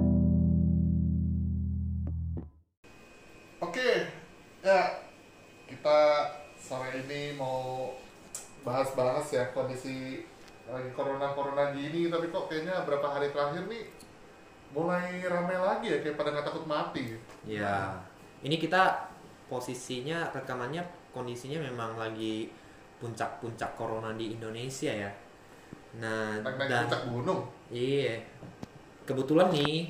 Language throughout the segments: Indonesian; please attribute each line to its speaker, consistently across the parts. Speaker 1: ya. ngelihat ya kondisi lagi corona corona gini tapi kok kayaknya berapa hari terakhir nih mulai ramai lagi ya kayak pada nggak takut mati
Speaker 2: Ya, ini kita posisinya rekamannya kondisinya memang lagi puncak-puncak corona di Indonesia ya. Nah,
Speaker 1: naik naik
Speaker 2: dan
Speaker 1: puncak gunung
Speaker 2: iya. Kebetulan nih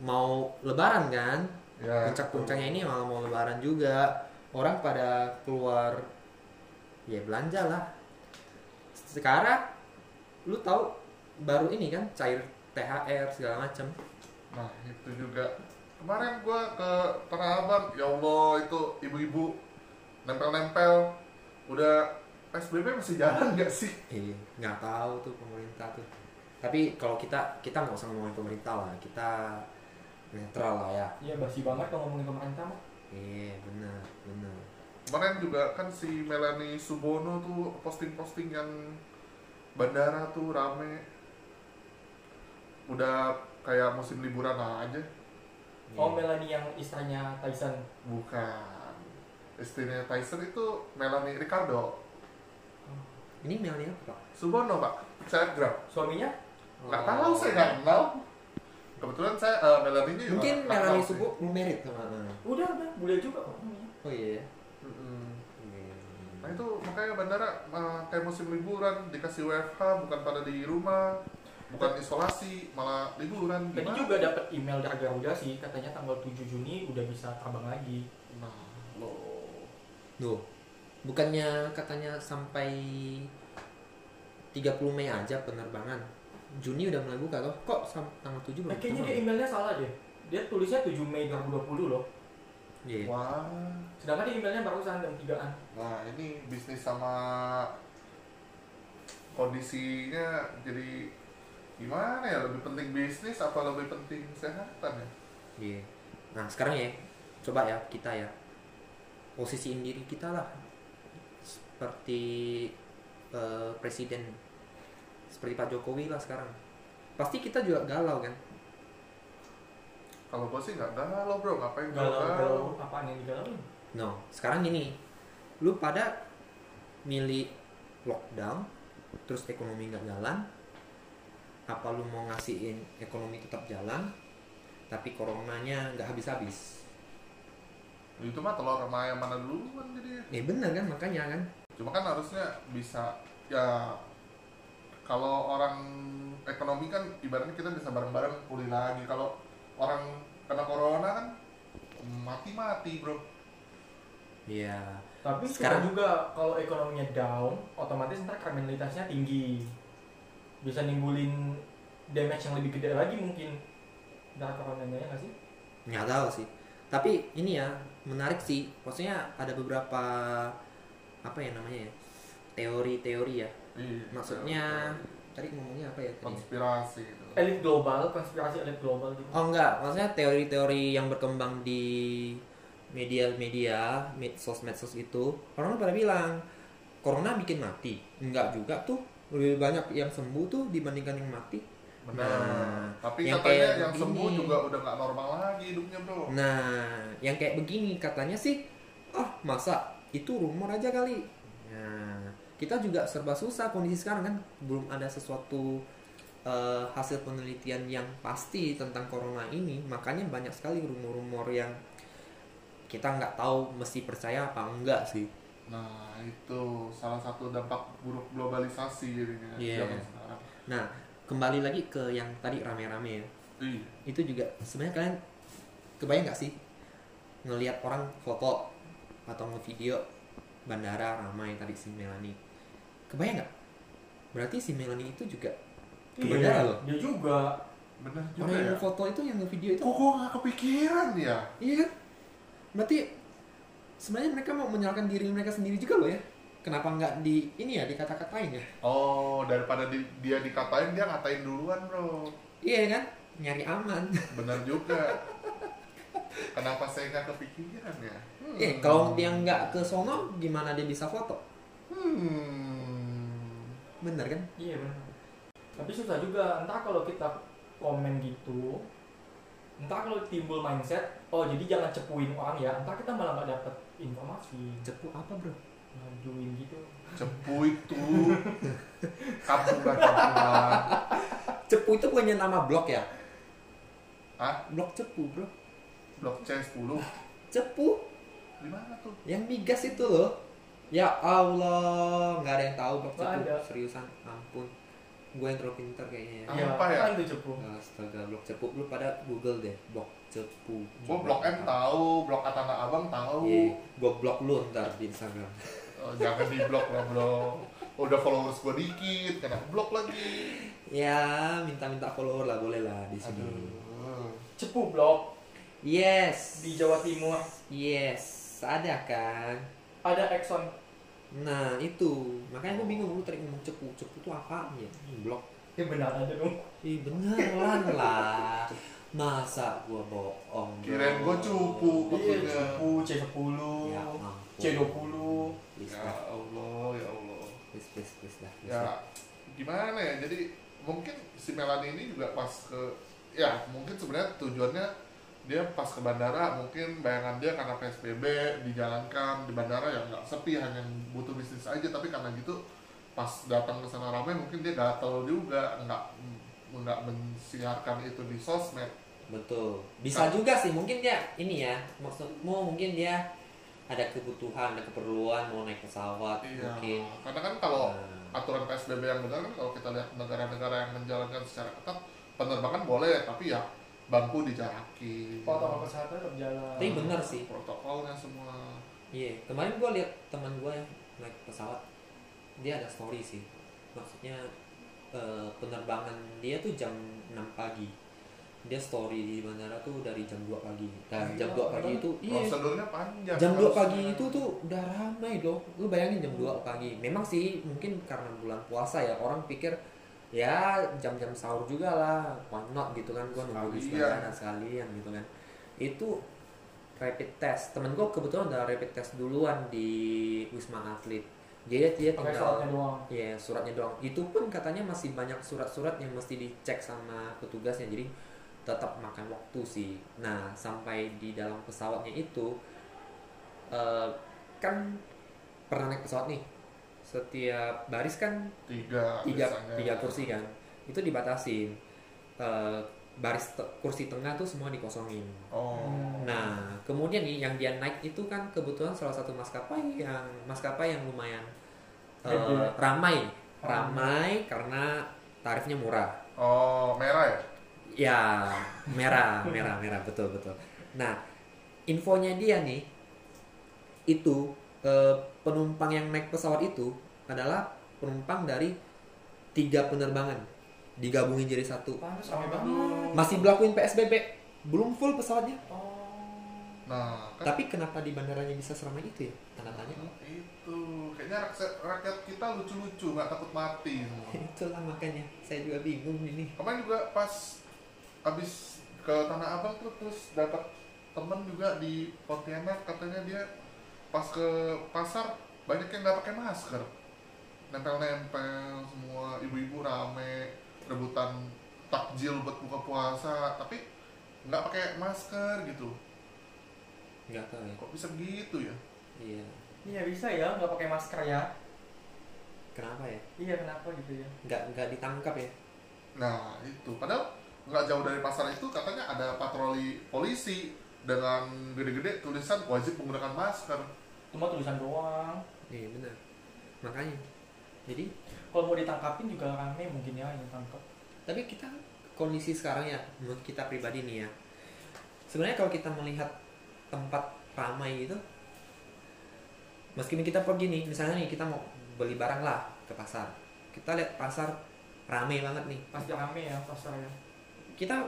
Speaker 2: mau lebaran kan?
Speaker 1: ya
Speaker 2: Puncak-puncaknya ini malah mau lebaran juga. Orang pada keluar ya belanja lah. Sekarang lu tahu baru ini kan cair THR segala macam.
Speaker 1: nah itu juga kemarin gua ke Tanah Abang ya Allah itu ibu-ibu nempel-nempel udah PSBB masih jalan nggak sih
Speaker 2: Iya, nggak tahu tuh pemerintah tuh. Tapi kalau kita kita nggak usah ngomongin pemerintah lah, kita netral lah ya.
Speaker 3: Iya basi banget kalau ngomongin pemerintah mah.
Speaker 2: Iya, benar, benar.
Speaker 1: kemarin juga kan si Melanie Subono tuh posting-posting yang bandara tuh rame udah kayak musim liburan aja
Speaker 2: Iya.
Speaker 3: Oh Melanie yang istrinya Tyson.
Speaker 1: bukan istrinya Tyson itu Melanie Ricardo
Speaker 2: Ini mailnya apa?
Speaker 1: Subono pak selebgram
Speaker 3: Suaminya?
Speaker 2: Oh.
Speaker 1: nggak tahu saya nggak kenal kebetulan saya eh, Melanie nya juga
Speaker 2: Mungkin
Speaker 1: nggak kenal
Speaker 2: Melanie
Speaker 1: sih.
Speaker 2: Subo merit sama.
Speaker 3: Udah udah boleh juga kok.
Speaker 2: Oh iya.
Speaker 1: Mm-mm.
Speaker 2: Iya.
Speaker 1: nah itu makanya bandara eh, kayak musim liburan dikasih WFH bukan pada di rumah bukan isolasi malah liburan
Speaker 3: Tadi
Speaker 1: Gimana?
Speaker 3: juga dapat email dari Garuda sih katanya tanggal 7 Juni udah bisa terbang lagi.
Speaker 1: Nah, lo
Speaker 2: Loh, bukannya katanya sampai 30 Mei aja penerbangan. Juni udah mulai buka loh. Kok sam- tanggal 7 belum?
Speaker 3: Eh, kayaknya dia
Speaker 2: buka?
Speaker 3: emailnya salah deh. Dia tulisnya 7 Mei 2020 loh.
Speaker 2: Iya.
Speaker 1: wah.
Speaker 3: Sedangkan dia emailnya barusan jam 3-an.
Speaker 1: Nah, ini bisnis sama kondisinya jadi gimana ya? Lebih penting bisnis apa lebih penting kesehatan ya?
Speaker 2: Iya. Nah sekarang ya, coba ya kita ya posisiin diri kita lah seperti eh, presiden, seperti Pak Jokowi lah sekarang. Pasti kita juga galau kan?
Speaker 1: Kalau gue sih nggak galau bro, ngapain gua galau?
Speaker 3: Galau-galau apaan yang digalauin?
Speaker 2: No, sekarang gini, lu pada milih lockdown, terus ekonomi nggak jalan, apa lu mau ngasihin ekonomi tetap jalan, tapi coronanya nggak habis-habis?
Speaker 1: Itu mah telur sama ayam mana duluan jadi.
Speaker 2: Ya bener kan makanya kan?
Speaker 1: Cuma kan harusnya bisa ya kalau orang ekonomi kan ibaratnya kita bisa bareng-bareng pulih lagi. Kalau orang kena corona kan mati-mati bro.
Speaker 2: Iya.
Speaker 3: Tapi
Speaker 2: Sekarang-
Speaker 3: sekarang juga kalau ekonominya down, otomatis ntar kriminalitasnya tinggi. Bisa nimbulin damage yang lebih gede lagi mungkin. Darah coronanya ya nggak sih?
Speaker 2: nggak tahu sih tapi ini ya menarik sih maksudnya ada beberapa apa ya namanya ya teori-teori ya
Speaker 1: Iya,
Speaker 2: maksudnya Eh, tadi ngomongnya apa ya tadi
Speaker 1: konspirasi gitu. itu.
Speaker 3: Elit global, konspirasi elit global gitu.
Speaker 2: oh enggak maksudnya teori-teori yang berkembang di media-media medsos-medsos itu orang pada bilang corona bikin mati enggak juga tuh lebih banyak yang sembuh tuh dibandingkan yang mati
Speaker 1: Benar.
Speaker 2: Nah,
Speaker 1: Tapi
Speaker 2: yang
Speaker 1: katanya
Speaker 2: kayak
Speaker 1: yang sembuh
Speaker 2: begini.
Speaker 1: juga udah nggak normal lagi hidupnya bro.
Speaker 2: Nah, yang kayak begini katanya sih, ah masa itu rumor aja kali. Nah, kita juga serba susah kondisi sekarang kan, belum ada sesuatu eh, hasil penelitian yang pasti tentang corona ini, makanya banyak sekali rumor-rumor yang kita nggak tahu mesti percaya apa enggak sih.
Speaker 1: Nah itu salah satu dampak buruk globalisasi jadinya
Speaker 2: Iya.
Speaker 1: zaman sekarang.
Speaker 2: Nah, kembali lagi ke yang tadi rame-rame ya.
Speaker 1: Iya.
Speaker 2: itu juga sebenarnya kalian kebayang nggak sih ngelihat orang foto atau ngevideo bandara ramai tadi si Melanie kebayang nggak berarti si Melanie itu juga Kebenaran loh.
Speaker 3: Dia Iya juga.
Speaker 1: Benar juga
Speaker 2: orang
Speaker 1: ya.
Speaker 2: yang foto itu yang ngevideo itu
Speaker 1: Kok gua nggak kepikiran ya?
Speaker 2: iya kan berarti sebenarnya mereka mau menyalahkan diri mereka sendiri juga loh ya kenapa nggak di ini ya dikata-katain ya
Speaker 1: Oh daripada di- dia dikatain dia ngatain duluan bro.
Speaker 2: iya kan nyari aman
Speaker 1: Benar juga. Kenapa saya nggak kepikiran ya? Hmm.
Speaker 2: eh kalau dia nggak ke sono gimana dia bisa foto
Speaker 1: Hmm.
Speaker 2: bener kan
Speaker 3: Iya benar. Tapi susah juga. Entah kalau kita komen gitu, entah kalau timbul mindset, oh jadi jangan cepuin orang ya. Entah kita malah nggak dapet informasi.
Speaker 2: cepu apa bro
Speaker 3: majuin gitu
Speaker 1: cepu itu kampungan kampungan
Speaker 2: Cepu itu punya nama blok ya?
Speaker 1: ah
Speaker 2: Blok Cepu bro.
Speaker 1: blok C 10
Speaker 2: Cepu
Speaker 1: di mana tuh
Speaker 2: yang migas itu loh. Ya Allah, nggak ada yang tahu blok
Speaker 3: Nggak
Speaker 2: Cepu.
Speaker 3: ada.
Speaker 2: Seriusan, ampun. Gue yang terlalu pinter kayaknya. ya.
Speaker 1: Ah. Apa ya?
Speaker 3: Iya, itu cepu
Speaker 2: Astaga, blok Cepu lu pada Google deh, blok Cepu.
Speaker 1: gua Oh, blok M tahu blok Atana Abang tahu
Speaker 2: Iya, gua blok lu ntar di Instagram.
Speaker 1: Eh, jangan di blok lah bro udah followers gua dikit kena blok lagi
Speaker 2: Ya, minta-minta follower lah boleh lah di sini.
Speaker 1: aduh
Speaker 3: cepu blok
Speaker 2: Yes.
Speaker 3: di Jawa Timur
Speaker 2: Yes, ada kan.
Speaker 3: ada Exxon
Speaker 2: Nah itu makanya gue bingung lu tadi ngomong cepu cepu itu apa ya? Blok.
Speaker 3: ya benar aja dong
Speaker 2: Ih beneran lah. Masa gua bohong? bro?
Speaker 1: Kirain gua cupu.
Speaker 3: iya
Speaker 1: Maksudnya.
Speaker 3: cepu C10
Speaker 2: Ya ampun.
Speaker 3: C20
Speaker 2: Please,
Speaker 1: ya
Speaker 2: lah.
Speaker 1: Allah ya Allah
Speaker 2: please, please, please lah. please,
Speaker 1: ya
Speaker 2: lah.
Speaker 1: gimana ya jadi mungkin si Melanie ini juga pas ke ya mungkin sebenarnya tujuannya dia pas ke bandara mungkin bayangan dia karena PSBB dijalankan di bandara ya nggak sepi hanya butuh bisnis aja tapi karena gitu pas datang ke sana ramai mungkin dia gatel juga nggak nggak mensiarkan itu di sosmed
Speaker 2: Betul.
Speaker 1: Ah.
Speaker 2: Bisa juga sih mungkin dia ini ya maksudmu mungkin dia ada kebutuhan ada keperluan mau naik pesawat
Speaker 1: iya
Speaker 2: mungkin.
Speaker 1: karena kan kalau
Speaker 2: Nah.
Speaker 1: aturan PSBB yang benar kan kalau kita lihat negara-negara yang menjalankan secara ketat penerbangan boleh tapi ya bangku dijarakin
Speaker 3: protokol kesehatan tetap jalan
Speaker 2: Tapi benar sih.
Speaker 1: protokolnya semua
Speaker 2: Iya, kemarin gua lihat teman gua yang naik pesawat, dia ada story sih. Maksudnya eh, penerbangan dia tuh jam 6 pagi. Dia story di bandara tuh dari jam 2 pagi. Dan jam 2 pagi itu iya.
Speaker 1: prosedurnya panjang
Speaker 2: Jam 2
Speaker 1: Harusnya.
Speaker 2: pagi itu tuh udah ramai loh. Lu bayangin jam 2 pagi. Memang sih mungkin karena bulan puasa ya orang pikir ya jam-jam sahur juga lah. Why not gitu kan gua nunggu di
Speaker 1: Sekalian.
Speaker 2: sana sekalian gitu kan. Itu rapid test. Temen gua kebetulan udah rapid test duluan di Wisma Atlet. Jadi dia
Speaker 3: pakai
Speaker 2: tinggal
Speaker 3: suratnya doang
Speaker 2: Iya suratnya doang. Itu pun katanya masih banyak surat-surat yang mesti dicek sama petugasnya. Jadi tetap makan waktu sih. Nah sampai di dalam pesawatnya itu eh, kan pernah naik pesawat nih. Setiap baris kan
Speaker 1: tiga
Speaker 2: tiga
Speaker 1: biasanya.
Speaker 2: tiga kursi kan. Itu dibatasin. Eh, baris te- kursi tengah tuh semua dikosongin.
Speaker 1: oh
Speaker 2: Nah, kemudian nih yang dia naik itu kan kebetulan salah satu maskapai yang maskapai yang lumayan eh,
Speaker 3: Gede.
Speaker 2: ramai, ramai karena tarifnya murah.
Speaker 1: oh merah ya
Speaker 2: Ya, merah, merah, merah, betul, betul. Nah, infonya dia nih, itu eh, penumpang yang naik pesawat itu adalah penumpang dari tiga penerbangan digabungin jadi satu.
Speaker 3: pantas
Speaker 1: Oh.
Speaker 3: rame banget
Speaker 2: Masih berlakuin PSBB, belum full pesawatnya.
Speaker 3: oh
Speaker 1: nah kan Oh,
Speaker 2: Tapi kenapa di bandaranya bisa seramai itu ya? Tanda tanya.
Speaker 1: itu kayaknya rakyat, rakyat kita lucu-lucu nggak takut mati semua.
Speaker 2: Itulah makanya saya juga bingung ini.
Speaker 1: kemarin juga pas abis ke tanah abang tuh terus dapat temen juga di Pontianak katanya dia pas ke pasar banyak yang nggak pakai masker nempel-nempel semua ibu-ibu rame rebutan takjil buat buka puasa tapi nggak pakai masker gitu
Speaker 2: Enggak tahu ya.
Speaker 1: kok bisa begitu ya
Speaker 2: Iya.
Speaker 3: iya bisa ya nggak pakai masker ya
Speaker 2: Kenapa ya?
Speaker 3: iya kenapa gitu ya
Speaker 2: Enggak enggak ditangkap ya?
Speaker 1: nah itu padahal nggak jauh dari pasar itu katanya ada patroli polisi dengan gede-gede tulisan wajib menggunakan masker
Speaker 3: cuma tulisan doang
Speaker 2: Iya benar. Makanya. Jadi
Speaker 3: kalau mau ditangkapin juga rame mungkin ya yang tangkap
Speaker 2: tapi kita kondisi sekarang ya menurut kita pribadi nih ya sebenarnya kalau kita melihat tempat ramai gitu meskipun kita pergi nih misalnya nih kita mau beli barang lah ke pasar kita lihat pasar ramai banget nih
Speaker 3: pasti rame ya pasar ya
Speaker 2: kita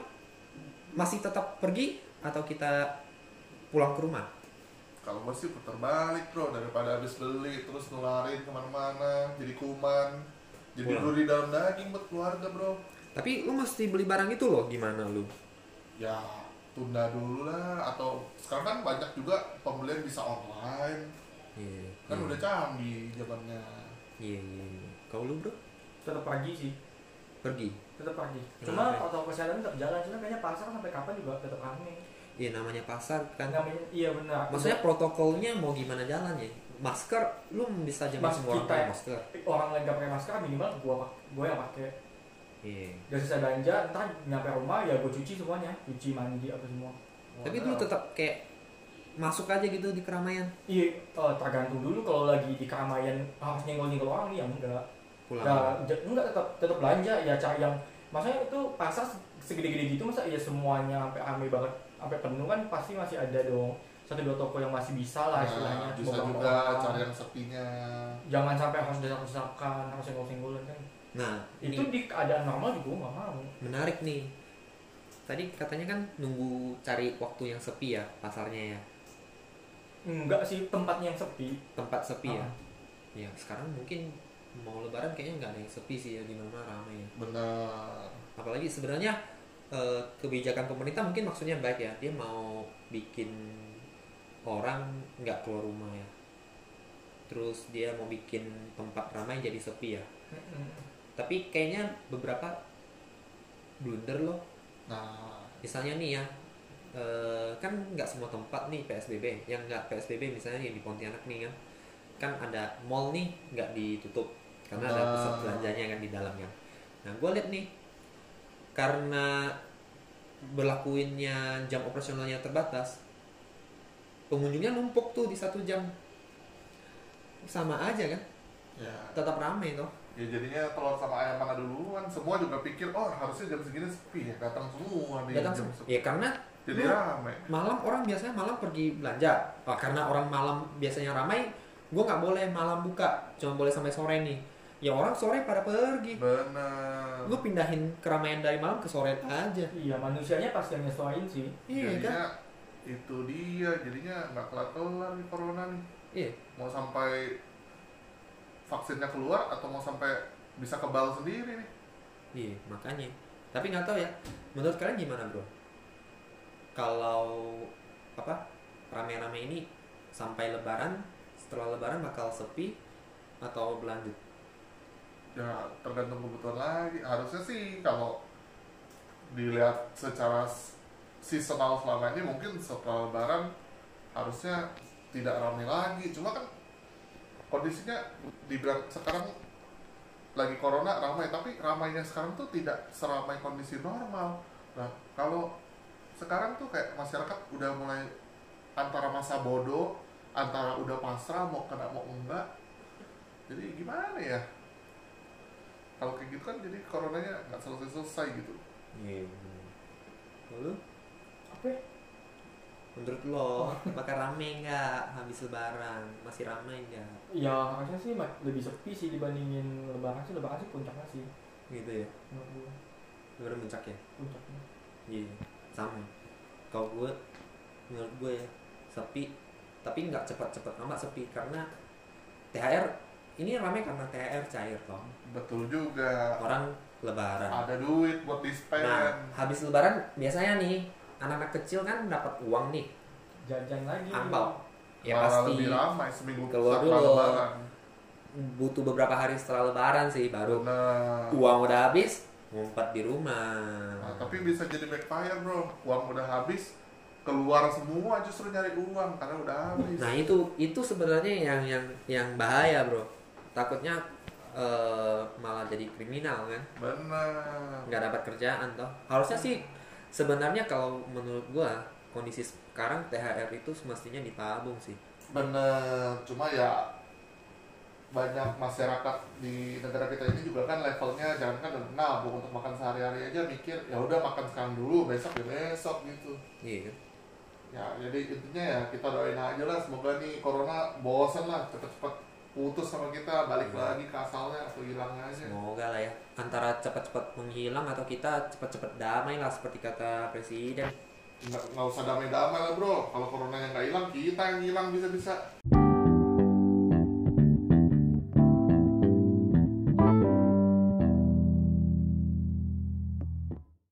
Speaker 2: masih tetap pergi atau kita pulang ke rumah
Speaker 1: kalau gue sih putar balik bro daripada habis beli terus nularin kemana-mana jadi kuman jadi
Speaker 2: Pulang.
Speaker 1: duri dalam daging buat keluarga bro
Speaker 2: tapi lu mesti beli barang itu loh gimana lu
Speaker 1: ya tunda dulu lah atau sekarang kan banyak juga pembelian bisa online
Speaker 2: iya
Speaker 1: kan udah canggih zamannya
Speaker 2: iya iya, iya. kalau lu bro
Speaker 3: tetap pagi sih
Speaker 2: pergi
Speaker 3: tetap pagi cuma
Speaker 2: Rame.
Speaker 3: protokol kesehatan tetap jalan cuma kayaknya pasar sampai kapan juga tetap rame
Speaker 2: iya namanya pasar kan
Speaker 3: namanya iya benar
Speaker 2: maksudnya protokolnya mau gimana jalan ya masker lu bisa jamin
Speaker 3: Mas,
Speaker 2: semua orang
Speaker 3: kita
Speaker 2: pakai
Speaker 3: ya.
Speaker 2: masker
Speaker 3: orang lain gak pakai masker minimal gua pak gua yang pakai
Speaker 2: iya
Speaker 3: gak sisa belanja ntar nyampe rumah ya gua cuci semuanya cuci mandi apa semua
Speaker 2: tapi lu tetap kayak masuk aja gitu di keramaian
Speaker 3: iya eh, tergantung dulu kalau lagi di keramaian harus nyenggol nyenggol orang nih ya enggak
Speaker 2: pulang
Speaker 3: Nah, j- enggak tetap tetap belanja ya cari yang maksudnya itu pasar se- segede-gede gitu masa ya semuanya sampai rame banget sampai penuh kan pasti masih ada dong satu dua toko yang masih bisa lah istilahnya
Speaker 1: Nah, bisa
Speaker 3: beberapa
Speaker 1: juga
Speaker 3: orang.
Speaker 1: cari yang sepinya.
Speaker 3: jangan sampai harus desak-desakan harus senggol-senggolan kan
Speaker 2: nah
Speaker 3: itu
Speaker 2: ini
Speaker 3: di keadaan normal juga gua nggak mau
Speaker 2: menarik nih tadi katanya kan nunggu cari waktu yang sepi ya pasarnya ya
Speaker 3: enggak sih tempatnya yang sepi
Speaker 2: tempat sepi ya
Speaker 3: Ah.
Speaker 2: ya sekarang mungkin mau lebaran kayaknya nggak ada yang sepi sih ya di mana ramai ya
Speaker 1: Bener.
Speaker 2: apalagi sebenarnya eh, kebijakan pemerintah mungkin maksudnya baik ya dia mau bikin orang nggak keluar rumah ya terus dia mau bikin tempat ramai jadi sepi ya
Speaker 3: Mm-mm.
Speaker 2: tapi kayaknya beberapa blunder loh
Speaker 1: Nah,
Speaker 2: misalnya nih ya eh, kan nggak semua tempat nih PSBB yang nggak PSBB misalnya yang di Pontianak nih kan kan ada mall nih nggak ditutup karena ada pusat
Speaker 1: Nah.
Speaker 2: belanjanya kan di dalam kan nah gue lihat nih karena berlakuinnya jam operasionalnya terbatas pengunjungnya numpuk tuh di satu jam sama aja kan
Speaker 1: ya,
Speaker 2: tetap rame toh
Speaker 1: ya jadinya telur sama ayam mana duluan. Semua juga pikir, oh harusnya jam segini sepi ya. Datang semua nih
Speaker 2: datang
Speaker 1: jam
Speaker 2: se-
Speaker 1: sepi.
Speaker 2: ya karena
Speaker 1: Jadi
Speaker 2: Lu-
Speaker 1: rame.
Speaker 2: malam orang biasanya malam pergi belanja Wah, karena orang malam biasanya ramai gue nggak boleh malam buka cuma boleh sampai sore nih ya orang sore pada pergi
Speaker 1: Bener.
Speaker 2: lu pindahin keramaian dari malam ke sore aja
Speaker 3: iya manusianya pasti yang nyesuaiin sih
Speaker 2: iya kan
Speaker 1: jadinya itu dia. Jadinya nggak kelar-kelar nih corona nih.
Speaker 2: iya
Speaker 1: Mau sampai vaksinnya keluar atau mau sampai bisa kebal sendiri nih.
Speaker 2: iya makanya tapi nggak tahu ya menurut kalian gimana bro kalau apa rame-rame ini sampai lebaran setelah lebaran bakal sepi atau berlanjut
Speaker 1: ya tergantung kebutuhan lagi harusnya sih kalau dilihat secara s- seasonal selama ini mungkin setelah lebaran harusnya tidak ramai lagi cuma kan kondisinya dibilang sekarang lagi corona ramai tapi ramainya sekarang tuh tidak seramai kondisi normal nah kalau sekarang tuh kayak masyarakat udah mulai antara masa bodoh antara udah pasrah mau kena mau enggak jadi gimana ya kalau kayak gitu kan jadi coronanya nggak selesai selesai gitu
Speaker 2: iya lalu
Speaker 3: apa ya?
Speaker 2: Menurut lo, bakal rame nggak habis lebaran? Masih rame nggak?
Speaker 3: ya harusnya sih ma- lebih sepi sih dibandingin lebaran sih lebaran sih puncaknya sih
Speaker 2: Gitu ya,
Speaker 3: menurut gua.
Speaker 2: lebaran puncak ya?
Speaker 3: puncaknya
Speaker 2: Iya, sama. Kalau gue, menurut gue ya, sepi. Tapi nggak cepat-cepat amat sepi karena THR, ini rame karena THR cair toh.
Speaker 1: betul juga
Speaker 2: Orang lebaran.
Speaker 1: ada duit buat di spend
Speaker 2: Nah, habis lebaran biasanya nih, anak-anak kecil kan dapat uang nih.
Speaker 3: jajan lagi
Speaker 2: Angpau. Ya
Speaker 1: malah
Speaker 2: pasti
Speaker 1: lebih ramai seminggu
Speaker 2: Keluar
Speaker 1: setelah
Speaker 2: dulu.
Speaker 1: lebaran
Speaker 2: butuh beberapa hari setelah lebaran sih baru
Speaker 1: Bener.
Speaker 2: uang udah habis ngumpet di rumah.
Speaker 1: Nah, tapi bisa jadi backfire bro uang udah habis keluar semua justru nyari uang karena udah habis
Speaker 2: Nah itu itu sebenarnya yang yang yang bahaya bro. Takutnya eh, malah jadi kriminal kan.
Speaker 1: bener
Speaker 2: Nggak dapat kerjaan toh. Harusnya sih sebenarnya kalau menurut gua kondisi sekarang THR itu semestinya ditabung sih.
Speaker 1: bener cuma ya banyak masyarakat di negara kita ini juga kan levelnya jangan kan udah nabung untuk makan sehari-hari aja mikir ya udah makan sekarang dulu besok ya besok gitu
Speaker 2: Iya. kan?
Speaker 1: ya jadi intinya ya kita doain aja lah semoga nih corona bosan lah cepet-cepet putus sama kita balik
Speaker 2: Iya.
Speaker 1: lagi ke asalnya atau hilang aja
Speaker 2: Semoga lah ya antara cepat-cepat menghilang atau kita cepat-cepat damai lah seperti kata presiden.
Speaker 1: nggak, nggak usah damai-damai lah bro kalau coronanya nggak hilang kita yang hilang bisa-bisa